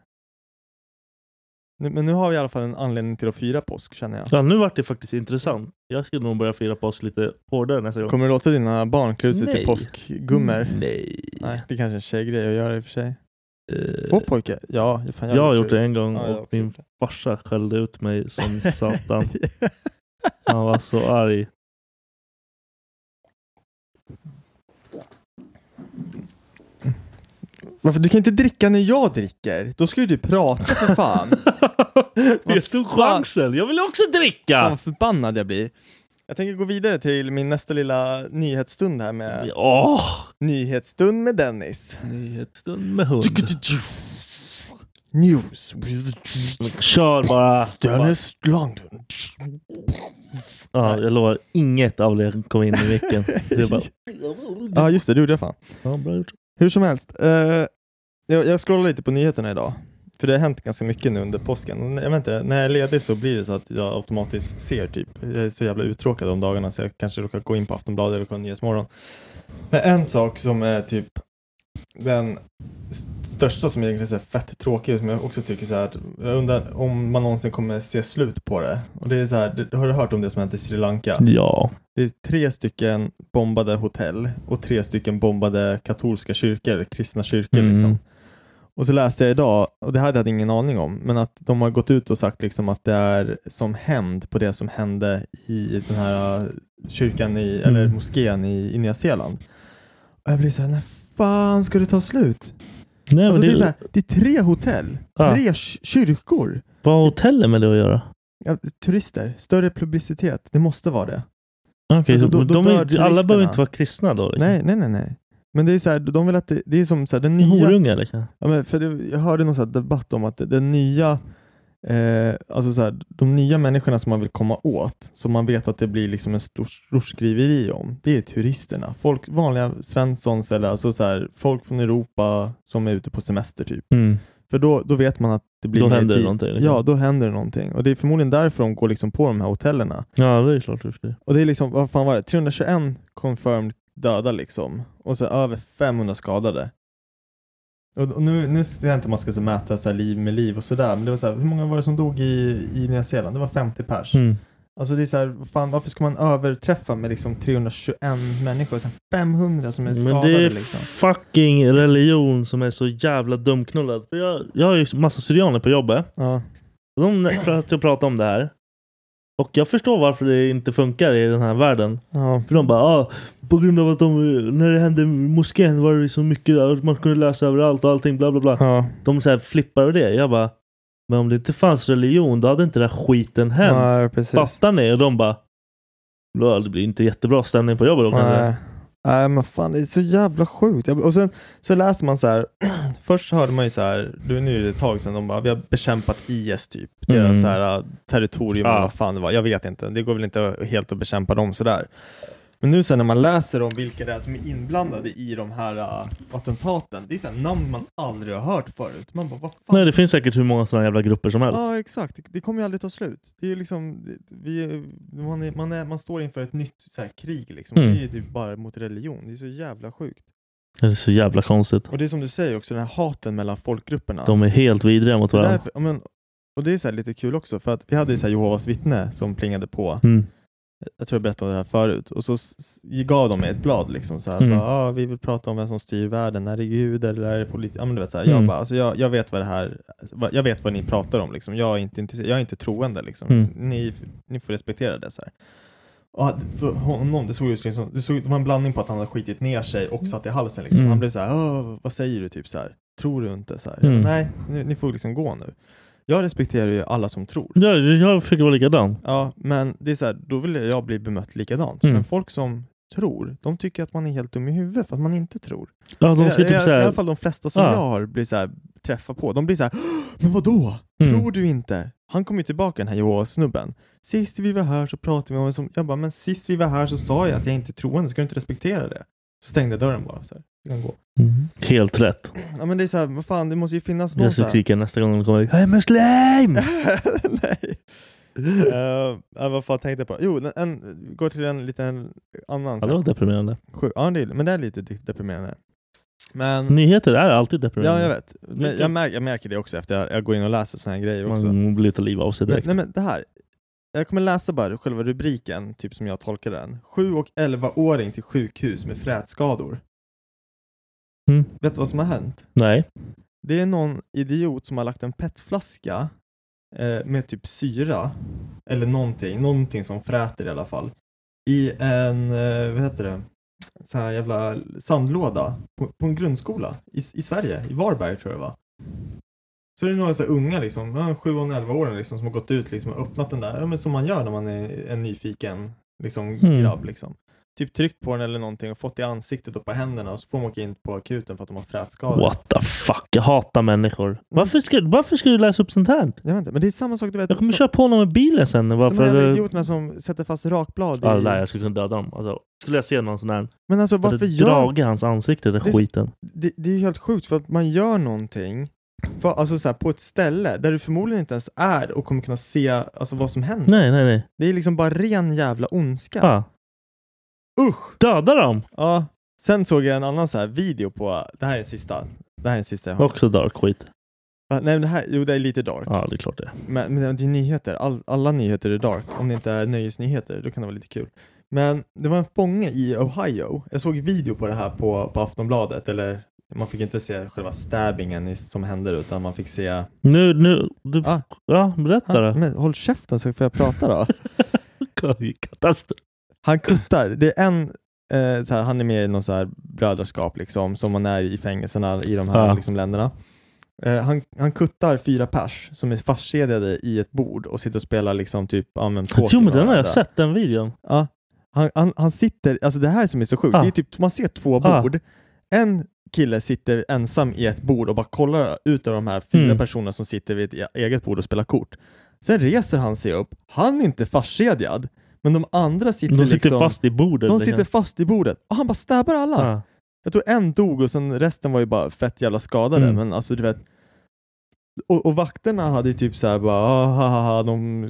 Speaker 5: Nu, men nu har vi i alla fall en anledning till att fira påsk känner jag.
Speaker 4: Ja, nu vart det faktiskt intressant. Jag ska nog börja fira påsk lite hårdare nästa gång.
Speaker 5: Kommer du låta dina barn klä ut sig till
Speaker 4: Nej. Mm,
Speaker 5: påskgummor?
Speaker 4: Nej.
Speaker 5: Nej, det är kanske är en tjejgrej att göra i och för sig.
Speaker 4: Eh,
Speaker 5: Får pojkar? Ja, fan,
Speaker 4: jag har gjort det en gång
Speaker 5: Ja, jag har
Speaker 4: och
Speaker 5: också
Speaker 4: min
Speaker 5: gjort det.
Speaker 4: farsa skällde ut mig
Speaker 5: [LAUGHS]
Speaker 4: som satan. Han var så arg.
Speaker 5: Varför? Du kan inte dricka när jag dricker. Då ska ju du prata
Speaker 4: [LAUGHS]
Speaker 5: för fan. Vad
Speaker 4: Jag tog
Speaker 5: fan?
Speaker 4: chansen. Jag vill också
Speaker 5: Fan
Speaker 4: dricka!
Speaker 5: vad förbannad jag blir. Jag tänker gå vidare till min nästa lilla nyhetsstund här med
Speaker 4: Åh!
Speaker 5: Nyhetsstund med Dennis.
Speaker 4: Nyhetsstund med hund.
Speaker 5: News.
Speaker 4: Kör bara.
Speaker 5: Dennis London.
Speaker 4: Ja, jag lovar, inget av det kom in i
Speaker 5: [LAUGHS]
Speaker 4: micken. Det bara,
Speaker 5: Ja, just det. Det gjorde jag fan.
Speaker 4: ja, bra gjort.
Speaker 5: Hur som helst. Eh, jag, jag scrollar lite på nyheterna idag. För det har hänt ganska mycket nu under påsken. Och Jag vet inte, när jag är ledig så blir det så att jag automatiskt ser typ. Jag är så jävla uttråkad om dagarna så jag kanske råkar gå in på Aftonbladet eller kolla Nyhetsmorgon. Men en sak som är typ den största som egentligen är så här fett tråkig och som jag också tycker så här att jag undrar om man någonsin kommer se slut på det. Och det är så här, har du hört om det som hänt i Sri Lanka?
Speaker 4: Ja.
Speaker 5: Det är tre stycken bombade hotell och tre stycken bombade katolska kyrkor, kristna kyrkor.
Speaker 4: Mm.
Speaker 5: Liksom. Och så läste jag idag, och det här hade jag ingen aning om, men att de har gått ut och sagt liksom att det är som hämnd på det som hände i den här äh, kyrkan, i,
Speaker 4: Mm.
Speaker 5: eller moskén i, i Nya Zeeland. Och jag blir så här, när fan ska det ta slut?
Speaker 4: Nej,
Speaker 5: alltså,
Speaker 4: men
Speaker 5: det,
Speaker 4: det,
Speaker 5: är så här, det är tre hotell,
Speaker 4: Ja.
Speaker 5: tre ky- kyrkor,
Speaker 4: vad har hotellet med det att göra?
Speaker 5: ja, turister, större publicitet, det måste vara det.
Speaker 4: Okej,
Speaker 5: Ja,
Speaker 4: så
Speaker 5: Alltså, då- då
Speaker 4: de är,
Speaker 5: dör
Speaker 4: ju- alla behöver
Speaker 5: turisterna.
Speaker 4: inte vara kristna då? Liksom.
Speaker 5: Nej, nej, nej, nej. Men det är så här, de vill att det, det är som så här, den
Speaker 4: Det är
Speaker 5: nya...
Speaker 4: Horungar liksom?
Speaker 5: Ja, men för det, jag hörde någon så här debatt om att det- den nya, eh, alltså så här, de nya människorna som man vill komma åt, som man vet att det blir liksom en stor, stor skriveri om, det är turisterna. Folk, vanliga svenssons eller alltså så här, folk från Europa som är ute på semester typ.
Speaker 4: Mm.
Speaker 5: För då, då vet man att det blir
Speaker 4: Då
Speaker 5: mer
Speaker 4: händer det
Speaker 5: tid.
Speaker 4: någonting, liksom.
Speaker 5: Ja, då händer det någonting. Och det är förmodligen därför de går liksom på de här hotellerna.
Speaker 4: Ja, det är klart. det är.
Speaker 5: Och det är liksom, vad fan var det? 321 confirmed döda liksom. Och så över 500 skadade. Och och nu, nu ser jag inte om man ska så mäta så här liv med liv och sådär. Men det var så här, hur många var det som dog i, i Nya Zeeland? Det var 50 pers.
Speaker 4: Mm.
Speaker 5: Alltså det är så här, vad fan, varför ska man överträffa med liksom 321 människor? Och sen 500 som är
Speaker 4: Men
Speaker 5: skadade
Speaker 4: det är
Speaker 5: liksom.
Speaker 4: fucking religion som är så jävla dumknullad. För jag, jag har ju massa syrianer på jobbet.
Speaker 5: Ja.
Speaker 4: Och De satt och pratade om det här. Och jag förstår varför det inte funkar i den här världen.
Speaker 5: Ja.
Speaker 4: För de bara, ah, på grund av att de, när det hände i moskén var det så mycket, att man kunde läsa överallt och allting bla bla bla.
Speaker 5: Ja.
Speaker 4: De så här flippar över det. Jag bara, men om det inte fanns religion då hade inte den här skiten hänt.
Speaker 5: Nej, precis.
Speaker 4: Fattar ni? Och de bara, "Lol, det blir inte jättebra stämning på jobbet då kanske.
Speaker 5: Nej. Nej men fan det är så jävla sjukt. Jag- Och sen så läser man så här. [CLEARS THROAT] Först hörde man ju så här. Du, nu är det ett tag sedan de bara, vi har bekämpat IS typ. Deras
Speaker 4: Mm.
Speaker 5: så här, äh, territorium
Speaker 4: Ja.
Speaker 5: eller vad fan det var. Jag vet inte. Det går väl inte helt att bekämpa dem sådär. Men nu sen när man läser om vilka det är som är inblandade i de här äh, attentaten. Det är så här, namn man aldrig har hört förut. Man bara, vad fan.
Speaker 4: Nej, det finns säkert hur många sådana jävla grupper som helst.
Speaker 5: Ja, exakt. Det- Det kommer ju aldrig ta slut. Det är ju liksom, det- vi, man, är, man, är, man står inför ett nytt så här, krig liksom.
Speaker 4: Mm.
Speaker 5: Det är typ bara mot religion. Det är så jävla sjukt.
Speaker 4: Det är så jävla konstigt.
Speaker 5: Och det är som du säger också, den här haten mellan folkgrupperna.
Speaker 4: De är helt vidriga mot
Speaker 5: det är
Speaker 4: varandra.
Speaker 5: därför, ja, men, och det är så här lite kul också, för att vi hade ju så här Jehovas vittne som plingade på.
Speaker 4: Mm.
Speaker 5: Jag tror jag berättade om det här förut. Och så s- s- gav de mig ett blad liksom så här,
Speaker 4: Mm.
Speaker 5: bara, ah, vi vill prata om vem som styr världen. Är det Gud eller är det politik? Ja, men du vet, så här,
Speaker 4: Mm.
Speaker 5: jag, bara, alltså, jag, jag vet vad det här, vad- jag vet vad ni pratar om liksom. Jag är inte, intresse- jag är inte troende liksom.
Speaker 4: Mm.
Speaker 5: Ni, ni får respektera det så här. Och att- för honom, det såg ut som, det, såg, det var en blandning på att han hade skitit ner sig och satt i halsen liksom.
Speaker 4: Mm.
Speaker 5: Han blev så här, "Åh, vad säger du typ så här? Tror du inte så här?
Speaker 4: Mm.
Speaker 5: Jag bara, Nej, ni, ni får liksom gå nu. Jag respekterar ju alla som tror.
Speaker 4: Ja, jag försöker vara likadan.
Speaker 5: Ja, men det är så här, då vill jag bli bemött likadant.
Speaker 4: Mm.
Speaker 5: Men folk som tror, de tycker att man är helt dum i huvudet för att man inte tror.
Speaker 4: Ja, de ska
Speaker 5: I,
Speaker 4: typ
Speaker 5: i, I
Speaker 4: såhär...
Speaker 5: alla fall de flesta som
Speaker 4: Ja.
Speaker 5: jag har blir så här, träffar på, de blir så här, men vadå?
Speaker 4: Mm.
Speaker 5: Tror du inte? Han kom ju tillbaka den här Jehovas-snubben. Sist vi var här så pratade vi om en som, jag bara, men sist vi var här så sa jag att jag inte är troende, ska du inte respektera det? Så stängde jag dörren bara så här. Du kan gå. [CLEARS THROAT]
Speaker 4: Mm. Helt rätt.
Speaker 5: Ja men det är så här, vad fan, det måste ju finnas någon
Speaker 4: Jag
Speaker 5: så
Speaker 4: ska
Speaker 5: här.
Speaker 4: skrika nästa gång de kommer Jag är muslim!
Speaker 5: [LAUGHS] Nej. Eh, ja, vad fan tänkte jag på? Jo, en, en, går till en liten annan.
Speaker 4: Ja, det var deprimerande.
Speaker 5: Sju, ja, det är, men det är lite de- deprimerande. Men,
Speaker 4: Nyheter är alltid
Speaker 5: Mm. ja
Speaker 4: deprimerande.
Speaker 5: jag vet. Men jag, mär, jag märker det också efter jag, jag går in och läser sådana här grejer också.
Speaker 4: Man blir lite liv av sig
Speaker 5: nej,
Speaker 4: direkt.
Speaker 5: nej men det här. Jag kommer läsa bara själva rubriken, typ som jag tolkar den. 7 och 11-åring till sjukhus med frätskador.
Speaker 4: Mm.
Speaker 5: Vet du vad som har hänt?
Speaker 4: Nej.
Speaker 5: Det är någon idiot som har lagt en petflaska eh, med typ syra eller någonting, någonting som fräter i alla fall i en, eh, vad heter det, så här jävla sandlåda på, på en grundskola i, i Sverige, i Varberg tror jag det var. Så är det några så här unga liksom, ja, 7 och 11 åringar liksom som har gått ut liksom och öppnat den där, ja, men som man gör när man är en nyfiken liksom
Speaker 4: Mm.
Speaker 5: grabb liksom. typ tryckt på den eller någonting och fått i ansiktet och på händerna och så får de åka in på akuten för att de har frätskador.
Speaker 4: What the fuck? Jag hatar människor. Varför ska, varför ska du läsa upp sånt här?
Speaker 5: Jag vet inte, men det är samma sak du vet.
Speaker 4: Jag kommer köra på någon med bilen sen.
Speaker 5: de här jävla
Speaker 4: Varför?
Speaker 5: idioterna som sätter fast rakblad
Speaker 4: Ja,
Speaker 5: i...
Speaker 4: nej, jag skulle kunna döda dem. Alltså, skulle jag se någon sån här...
Speaker 5: Men alltså varför
Speaker 4: hade
Speaker 5: gör...
Speaker 4: dragit hans ansikte, den
Speaker 5: Det-
Speaker 4: skiten.
Speaker 5: Det, det är ju helt sjukt för att man gör någonting för, alltså så här, på ett ställe där du förmodligen inte ens är och kommer kunna se alltså, vad som händer.
Speaker 4: Nej, nej, nej.
Speaker 5: Det är liksom bara ren jävla ondska.
Speaker 4: Ja.
Speaker 5: Usch!
Speaker 4: Döda dem!
Speaker 5: Ja. Sen såg jag en annan så här video på, det här är den sista. Det här är den sista jag har.
Speaker 4: Också dark skit.
Speaker 5: Va? Nej men det här, jo det är lite dark.
Speaker 4: Ja, det är klart det.
Speaker 5: Men, men det är nyheter, All, alla nyheter är dark. Om det inte är nöjesnyheter, då kan det vara lite kul. Men det var en fånge i Ohio. Jag såg video på det här på, på Aftonbladet, eller man fick inte se själva stabbingen i, som hände utan man fick se...
Speaker 4: Nu, nu... Du,
Speaker 5: Ah.
Speaker 4: Ja, berätta
Speaker 5: [LAUGHS] Han,
Speaker 4: då.
Speaker 5: men håll käften så får jag
Speaker 4: [LAUGHS]
Speaker 5: prata då.
Speaker 4: Katastrof.
Speaker 5: Han kuttar. Det är en, eh, så här, han är med i någon så här brödraskap liksom, som man är i fängelserna i de här
Speaker 4: Ja.
Speaker 5: liksom, länderna. Eh, han, han kuttar fyra pers som är fastkedjade i ett bord och sitter och spelar liksom typ, ja men poker
Speaker 4: Jo, men
Speaker 5: med
Speaker 4: den har jag
Speaker 5: varandra.
Speaker 4: sett, den videon.
Speaker 5: Ja. Han, han, han sitter, alltså det här som är så sjukt,
Speaker 4: Ja.
Speaker 5: det är typ, man ser två
Speaker 4: Ja.
Speaker 5: bord. En kille sitter ensam i ett bord och bara kollar ut av de här fyra
Speaker 4: Mm.
Speaker 5: personerna som sitter vid ett e- eget bord och spelar kort. Sen reser han sig upp, han är inte fastkedjad, men de andra sitter,
Speaker 4: De sitter
Speaker 5: liksom,
Speaker 4: fast i bordet.
Speaker 5: de
Speaker 4: liksom.
Speaker 5: sitter fast i bordet och han bara stabbar alla.
Speaker 4: Ja.
Speaker 5: Jag tror en dog och sen resten var ju bara fett jävla skadade.
Speaker 4: Mm.
Speaker 5: Men alltså du vet. Och, och vakterna hade ju typ såhär bara "Ah, ha, ha, ha, de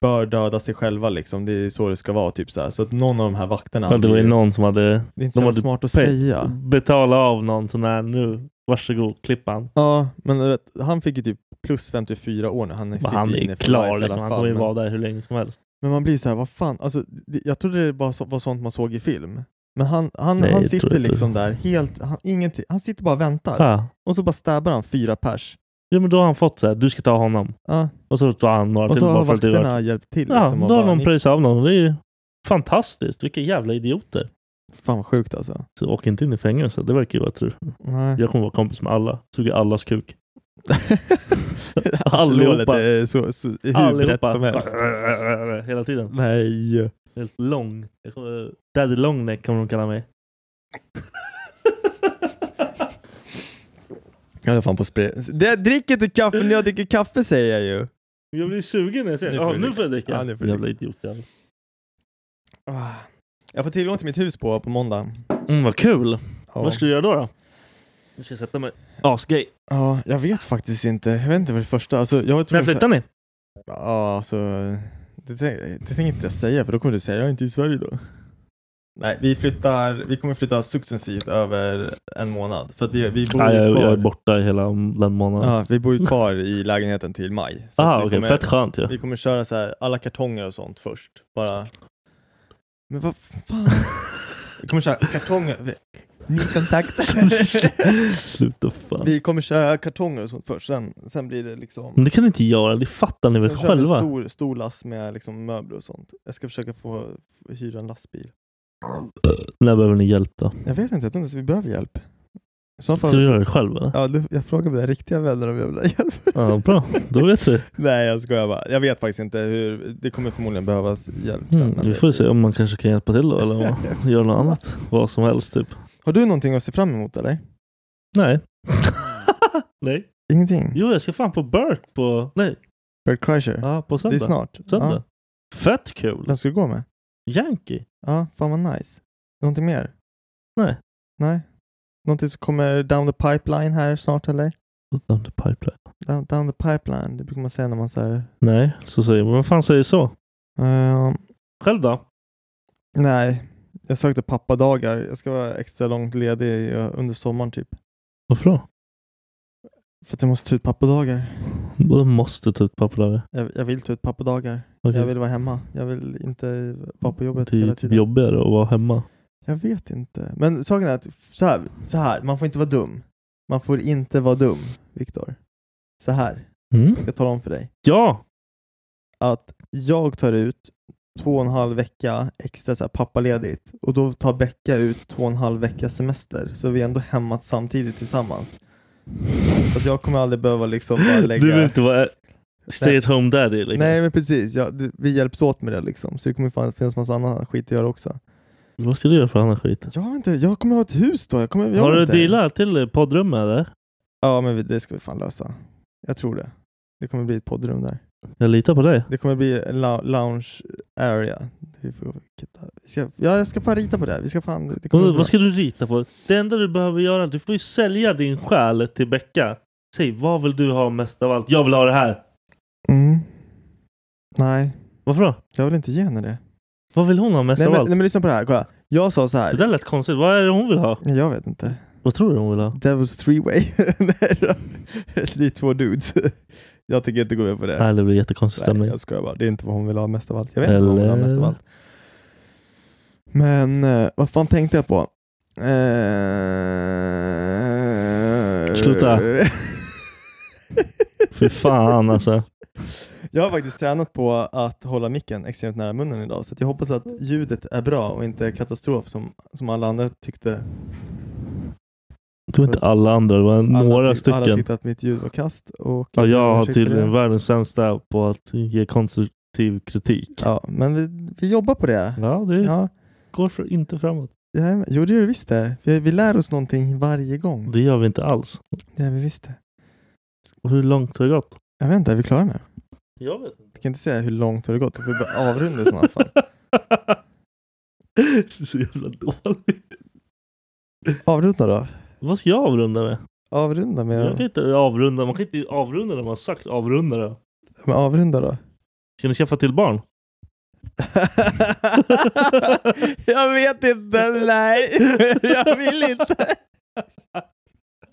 Speaker 5: bör döda sig själva liksom. Det är så det ska vara typ så här. Så att någon av de här vakterna
Speaker 4: Ja, det var ju någon som hade
Speaker 5: Det är inte så
Speaker 4: de
Speaker 5: jävla
Speaker 4: hade
Speaker 5: smart att
Speaker 4: pe-
Speaker 5: säga.
Speaker 4: betalat av någon sån här nu. Varsågod, klippan.
Speaker 5: Ja, men du vet, han fick ju typ plus 54 år nu. Han
Speaker 4: Men
Speaker 5: sitter
Speaker 4: han
Speaker 5: inne
Speaker 4: är
Speaker 5: för life i
Speaker 4: klar
Speaker 5: alla
Speaker 4: liksom. Han
Speaker 5: fall,
Speaker 4: kommer ju
Speaker 5: men-
Speaker 4: vara där hur länge som helst.
Speaker 5: Men man blir så här, vad fan, alltså, det, jag trodde det bara så, var sånt man såg i film. Men han, han,
Speaker 4: Nej,
Speaker 5: han
Speaker 4: jag tror
Speaker 5: sitter
Speaker 4: inte.
Speaker 5: liksom där helt, han, ingenting, han sitter bara och väntar.
Speaker 4: Ja.
Speaker 5: Och så bara stabbar han fyra pers.
Speaker 4: ja, men då har han fått så här. Du ska ta honom.
Speaker 5: Ja.
Speaker 4: Och så tar han några
Speaker 5: Och
Speaker 4: till
Speaker 5: så har
Speaker 4: Typ bara för att det var...
Speaker 5: vakterna hjälpt till.
Speaker 4: Ja,
Speaker 5: liksom, och
Speaker 4: då har
Speaker 5: bara,
Speaker 4: någon
Speaker 5: "Ni-
Speaker 4: pröjsat av någon. Det är ju fantastiskt. Vilka jävla idioter.
Speaker 5: Fan vad sjukt alltså.
Speaker 4: Så åk inte in i fängelse. Det verkar ju vara tur.
Speaker 5: Nej. [LAUGHS]
Speaker 4: Jag kommer vara kompis med alla. Suga allas kuk.
Speaker 5: Allihopa.
Speaker 4: Allihopa.
Speaker 5: är så, så hur brett
Speaker 4: Allihopa.
Speaker 5: som helst.
Speaker 4: Hela tiden.
Speaker 5: Nej.
Speaker 4: Helt lång. Jag kommer- Daddy Longneck kommer de kalla mig.
Speaker 5: Jag är fan på spel. Det, drick inte kaffe när jag dricker kaffe säger jag ju.
Speaker 4: Jag blir sugen när jag ser
Speaker 5: Nu
Speaker 4: det.
Speaker 5: får
Speaker 4: Ja,
Speaker 5: du
Speaker 4: nu får jag dricka.
Speaker 5: Ja, nu får du
Speaker 4: Jävla idiot. jävla.
Speaker 5: Ah. Jag får tillgång till mitt hus på, på måndag.
Speaker 4: Mm, vad kul.
Speaker 5: Ja.
Speaker 4: Vad ska du göra då? då? Nu ska jag sätta mig. Asgay.
Speaker 5: ja, jag vet faktiskt inte. Jag vet inte vad det första... Alltså, jag tror
Speaker 4: När flyttar ni?
Speaker 5: Ja, alltså... Det, tänk- det tänker inte jag säga för då kommer du säga jag är inte i Sverige då. Nej, vi flyttar... Vi kommer flytta successivt över en månad. För att vi, vi bor
Speaker 4: Nej,
Speaker 5: ju
Speaker 4: jag,
Speaker 5: kvar.
Speaker 4: jag är borta i hela den månaden.
Speaker 5: Ja, vi bor ju kvar i lägenheten till maj. Så att
Speaker 4: Aha,
Speaker 5: vi,
Speaker 4: okej.
Speaker 5: kommer,
Speaker 4: Fett skönt ju.
Speaker 5: vi kommer köra så här, alla kartonger och sånt först. Bara... Men vad fan?
Speaker 4: [LAUGHS]
Speaker 5: vi kommer köra kartonger. vi- Ny
Speaker 4: [LAUGHS]
Speaker 5: kontakt.
Speaker 4: Sluta fan.
Speaker 5: vi kommer köra kartonger och sånt först. Sen, sen blir det liksom...
Speaker 4: Men det kan ni inte göra. Det fattar Mm, ni väl
Speaker 5: Sen kör vi
Speaker 4: själva?
Speaker 5: stor, stor last med liksom möbler och sånt. Jag ska försöka få få hyra en lastbil.
Speaker 4: När behöver ni hjälp då?
Speaker 5: Jag vet inte, jag tror inte ens vi behöver hjälp. I så
Speaker 4: Ska du
Speaker 5: fall,
Speaker 4: göra det själv eller?
Speaker 5: ja, du- jag frågar mina riktiga vänner om jag vill ha hjälp.
Speaker 4: Ja, bra. Då vet vi.
Speaker 5: Nej jag skojar bara. Jag vet faktiskt inte hur, det kommer förmodligen behövas hjälp [LAUGHS] sen.
Speaker 4: Mm,
Speaker 5: men
Speaker 4: vi
Speaker 5: det-
Speaker 4: får ju se om man kanske kan hjälpa till då, eller om man gör något annat. Vad som helst typ.
Speaker 5: [LAUGHS] Har du någonting att se fram emot eller?
Speaker 4: Nej. [LAUGHS] Nej.
Speaker 5: Ingenting?
Speaker 4: Jo, jag ska fan på Burt på... Nej,
Speaker 5: Bert Kreischer?
Speaker 4: ja, på
Speaker 5: det
Speaker 4: söndag.
Speaker 5: är snart.
Speaker 4: Söndag. Fett
Speaker 5: Ja.
Speaker 4: kul!
Speaker 5: Vem ska du gå med?
Speaker 4: Yankee.
Speaker 5: Ja, fan vad nice. Någonting mer?
Speaker 4: Nej.
Speaker 5: Nej? Någonting som kommer down the pipeline här snart eller?
Speaker 4: Down the pipeline.
Speaker 5: Down, down the pipeline, det brukar man säga när man säger...
Speaker 4: Nej, så säger man. Vem fan säger så?
Speaker 5: Ehm,
Speaker 4: Själv då?
Speaker 5: nej, jag sökte pappadagar. Jag ska vara extra långt ledig eh, under sommaren typ.
Speaker 4: Varför då?
Speaker 5: För att jag måste ta ut pappadagar.
Speaker 4: Du måste ta ut pappadagar.
Speaker 5: Jag, jag vill ta ut pappadagar.
Speaker 4: Okej.
Speaker 5: Jag vill vara hemma. Jag vill inte vara på jobbet
Speaker 4: Det är ju
Speaker 5: hela
Speaker 4: typ
Speaker 5: tiden.
Speaker 4: jobbigare att vara hemma.
Speaker 5: Jag vet inte. Men saken är att så här, så här, man får inte vara dum. Man får inte vara dum, Viktor. Så här,
Speaker 4: Mm.
Speaker 5: ska jag tala om för dig.
Speaker 4: Ja!
Speaker 5: Att jag tar ut två och en halv vecka extra så här, pappaledigt och då tar Becka ut två och en halv vecka semester. Så vi är ändå hemma samtidigt tillsammans. Så att jag kommer aldrig behöva liksom bara lägga...
Speaker 4: Du vill inte vara stay at home daddy liksom.
Speaker 5: Nej men precis, ja, du, vi hjälps åt med det liksom. Så det kommer fan finnas massa annan skit att göra också.
Speaker 4: Vad ska du göra för annan skit?
Speaker 5: Jag vet inte, jag kommer ha ett hus då. Jag kommer, jag
Speaker 4: typ. Har du
Speaker 5: vet inte.
Speaker 4: dealar till poddrum eller?
Speaker 5: Ja, men vi- det ska vi fan lösa. Jag tror det. Det kommer bli ett poddrum där.
Speaker 4: Jag litar på dig.
Speaker 5: Det kommer bli en lou- lounge area. Vi får hitta- vi ska, ja, jag ska fan rita på det. här. Vi ska fan... Det kommer
Speaker 4: Vad,
Speaker 5: bli bra.
Speaker 4: vad ska du rita på? Det enda du behöver göra, du får ju sälja din själ till Becka. Säg, vad vill du ha mest av allt? Jag vill ha det här!
Speaker 5: Mm. Nej,
Speaker 4: Varför då?
Speaker 5: jag vill inte ge henne det.
Speaker 4: Vad vill hon ha mest
Speaker 5: Nej
Speaker 4: av
Speaker 5: men,
Speaker 4: allt?
Speaker 5: nej men lyssna på det här, kolla. Jag sa så
Speaker 4: det
Speaker 5: här.
Speaker 4: där lät konstigt. Vad är det hon vill ha?
Speaker 5: Nej, Jag vet inte.
Speaker 4: Vad tror du hon vill ha?
Speaker 5: Devil's three way. [LAUGHS] Nej då. det är två dudes. jag tänker inte gå med på det.
Speaker 4: Nej, det blir jättekonstig
Speaker 5: Nej,
Speaker 4: stämning.
Speaker 5: jag skojar bara. Det är inte vad hon vill ha mest av allt. Jag vet inte vad hon vill ha
Speaker 4: Eller?
Speaker 5: mest av allt. Men eh, vad fan tänkte jag på? Eh... [LAUGHS]
Speaker 4: Sluta. Fy fan alltså.
Speaker 5: Jag har faktiskt tränat på att hålla micken extremt nära munnen idag så att jag hoppas att ljudet är bra och inte katastrof som, som alla andra tyckte.
Speaker 4: Det var inte alla andra, det var några
Speaker 5: alla, tyck- alla
Speaker 4: stycken.
Speaker 5: tyckte att mitt ljud var kast. Och
Speaker 4: Ja, jag har
Speaker 5: ursäkta för det.
Speaker 4: tydligen världens sämsta på att ge konstruktiv kritik.
Speaker 5: Ja, men vi, vi jobbar på det.
Speaker 4: Ja, det
Speaker 5: Ja,
Speaker 4: går för, inte framåt.
Speaker 5: det här, jo, det gör vi visst det. Vi, vi lär oss någonting varje gång.
Speaker 4: Det gör vi inte alls.
Speaker 5: Det gör vi visst det.
Speaker 4: Och hur långt har det gått?
Speaker 5: Jag vet inte, är vi klara nu?
Speaker 4: Jag vet inte.
Speaker 5: Jag kan inte säga hur långt har det gått. Då får vi börja avrunda i
Speaker 4: [LAUGHS]
Speaker 5: sådana [LAUGHS] fall.
Speaker 4: Så jävla dålig.
Speaker 5: Avrunda då.
Speaker 4: Vad ska jag avrunda med?
Speaker 5: Avrunda
Speaker 4: Jag kan
Speaker 5: med...
Speaker 4: inte avrunda. Man kan inte avrunda när man har sagt avrunda. Då.
Speaker 5: med avrunda då.
Speaker 4: Ska ni skaffa till barn?
Speaker 5: [LAUGHS]
Speaker 4: [LAUGHS]
Speaker 5: jag vet inte, nej. [LAUGHS] Jag vill [LAUGHS] inte.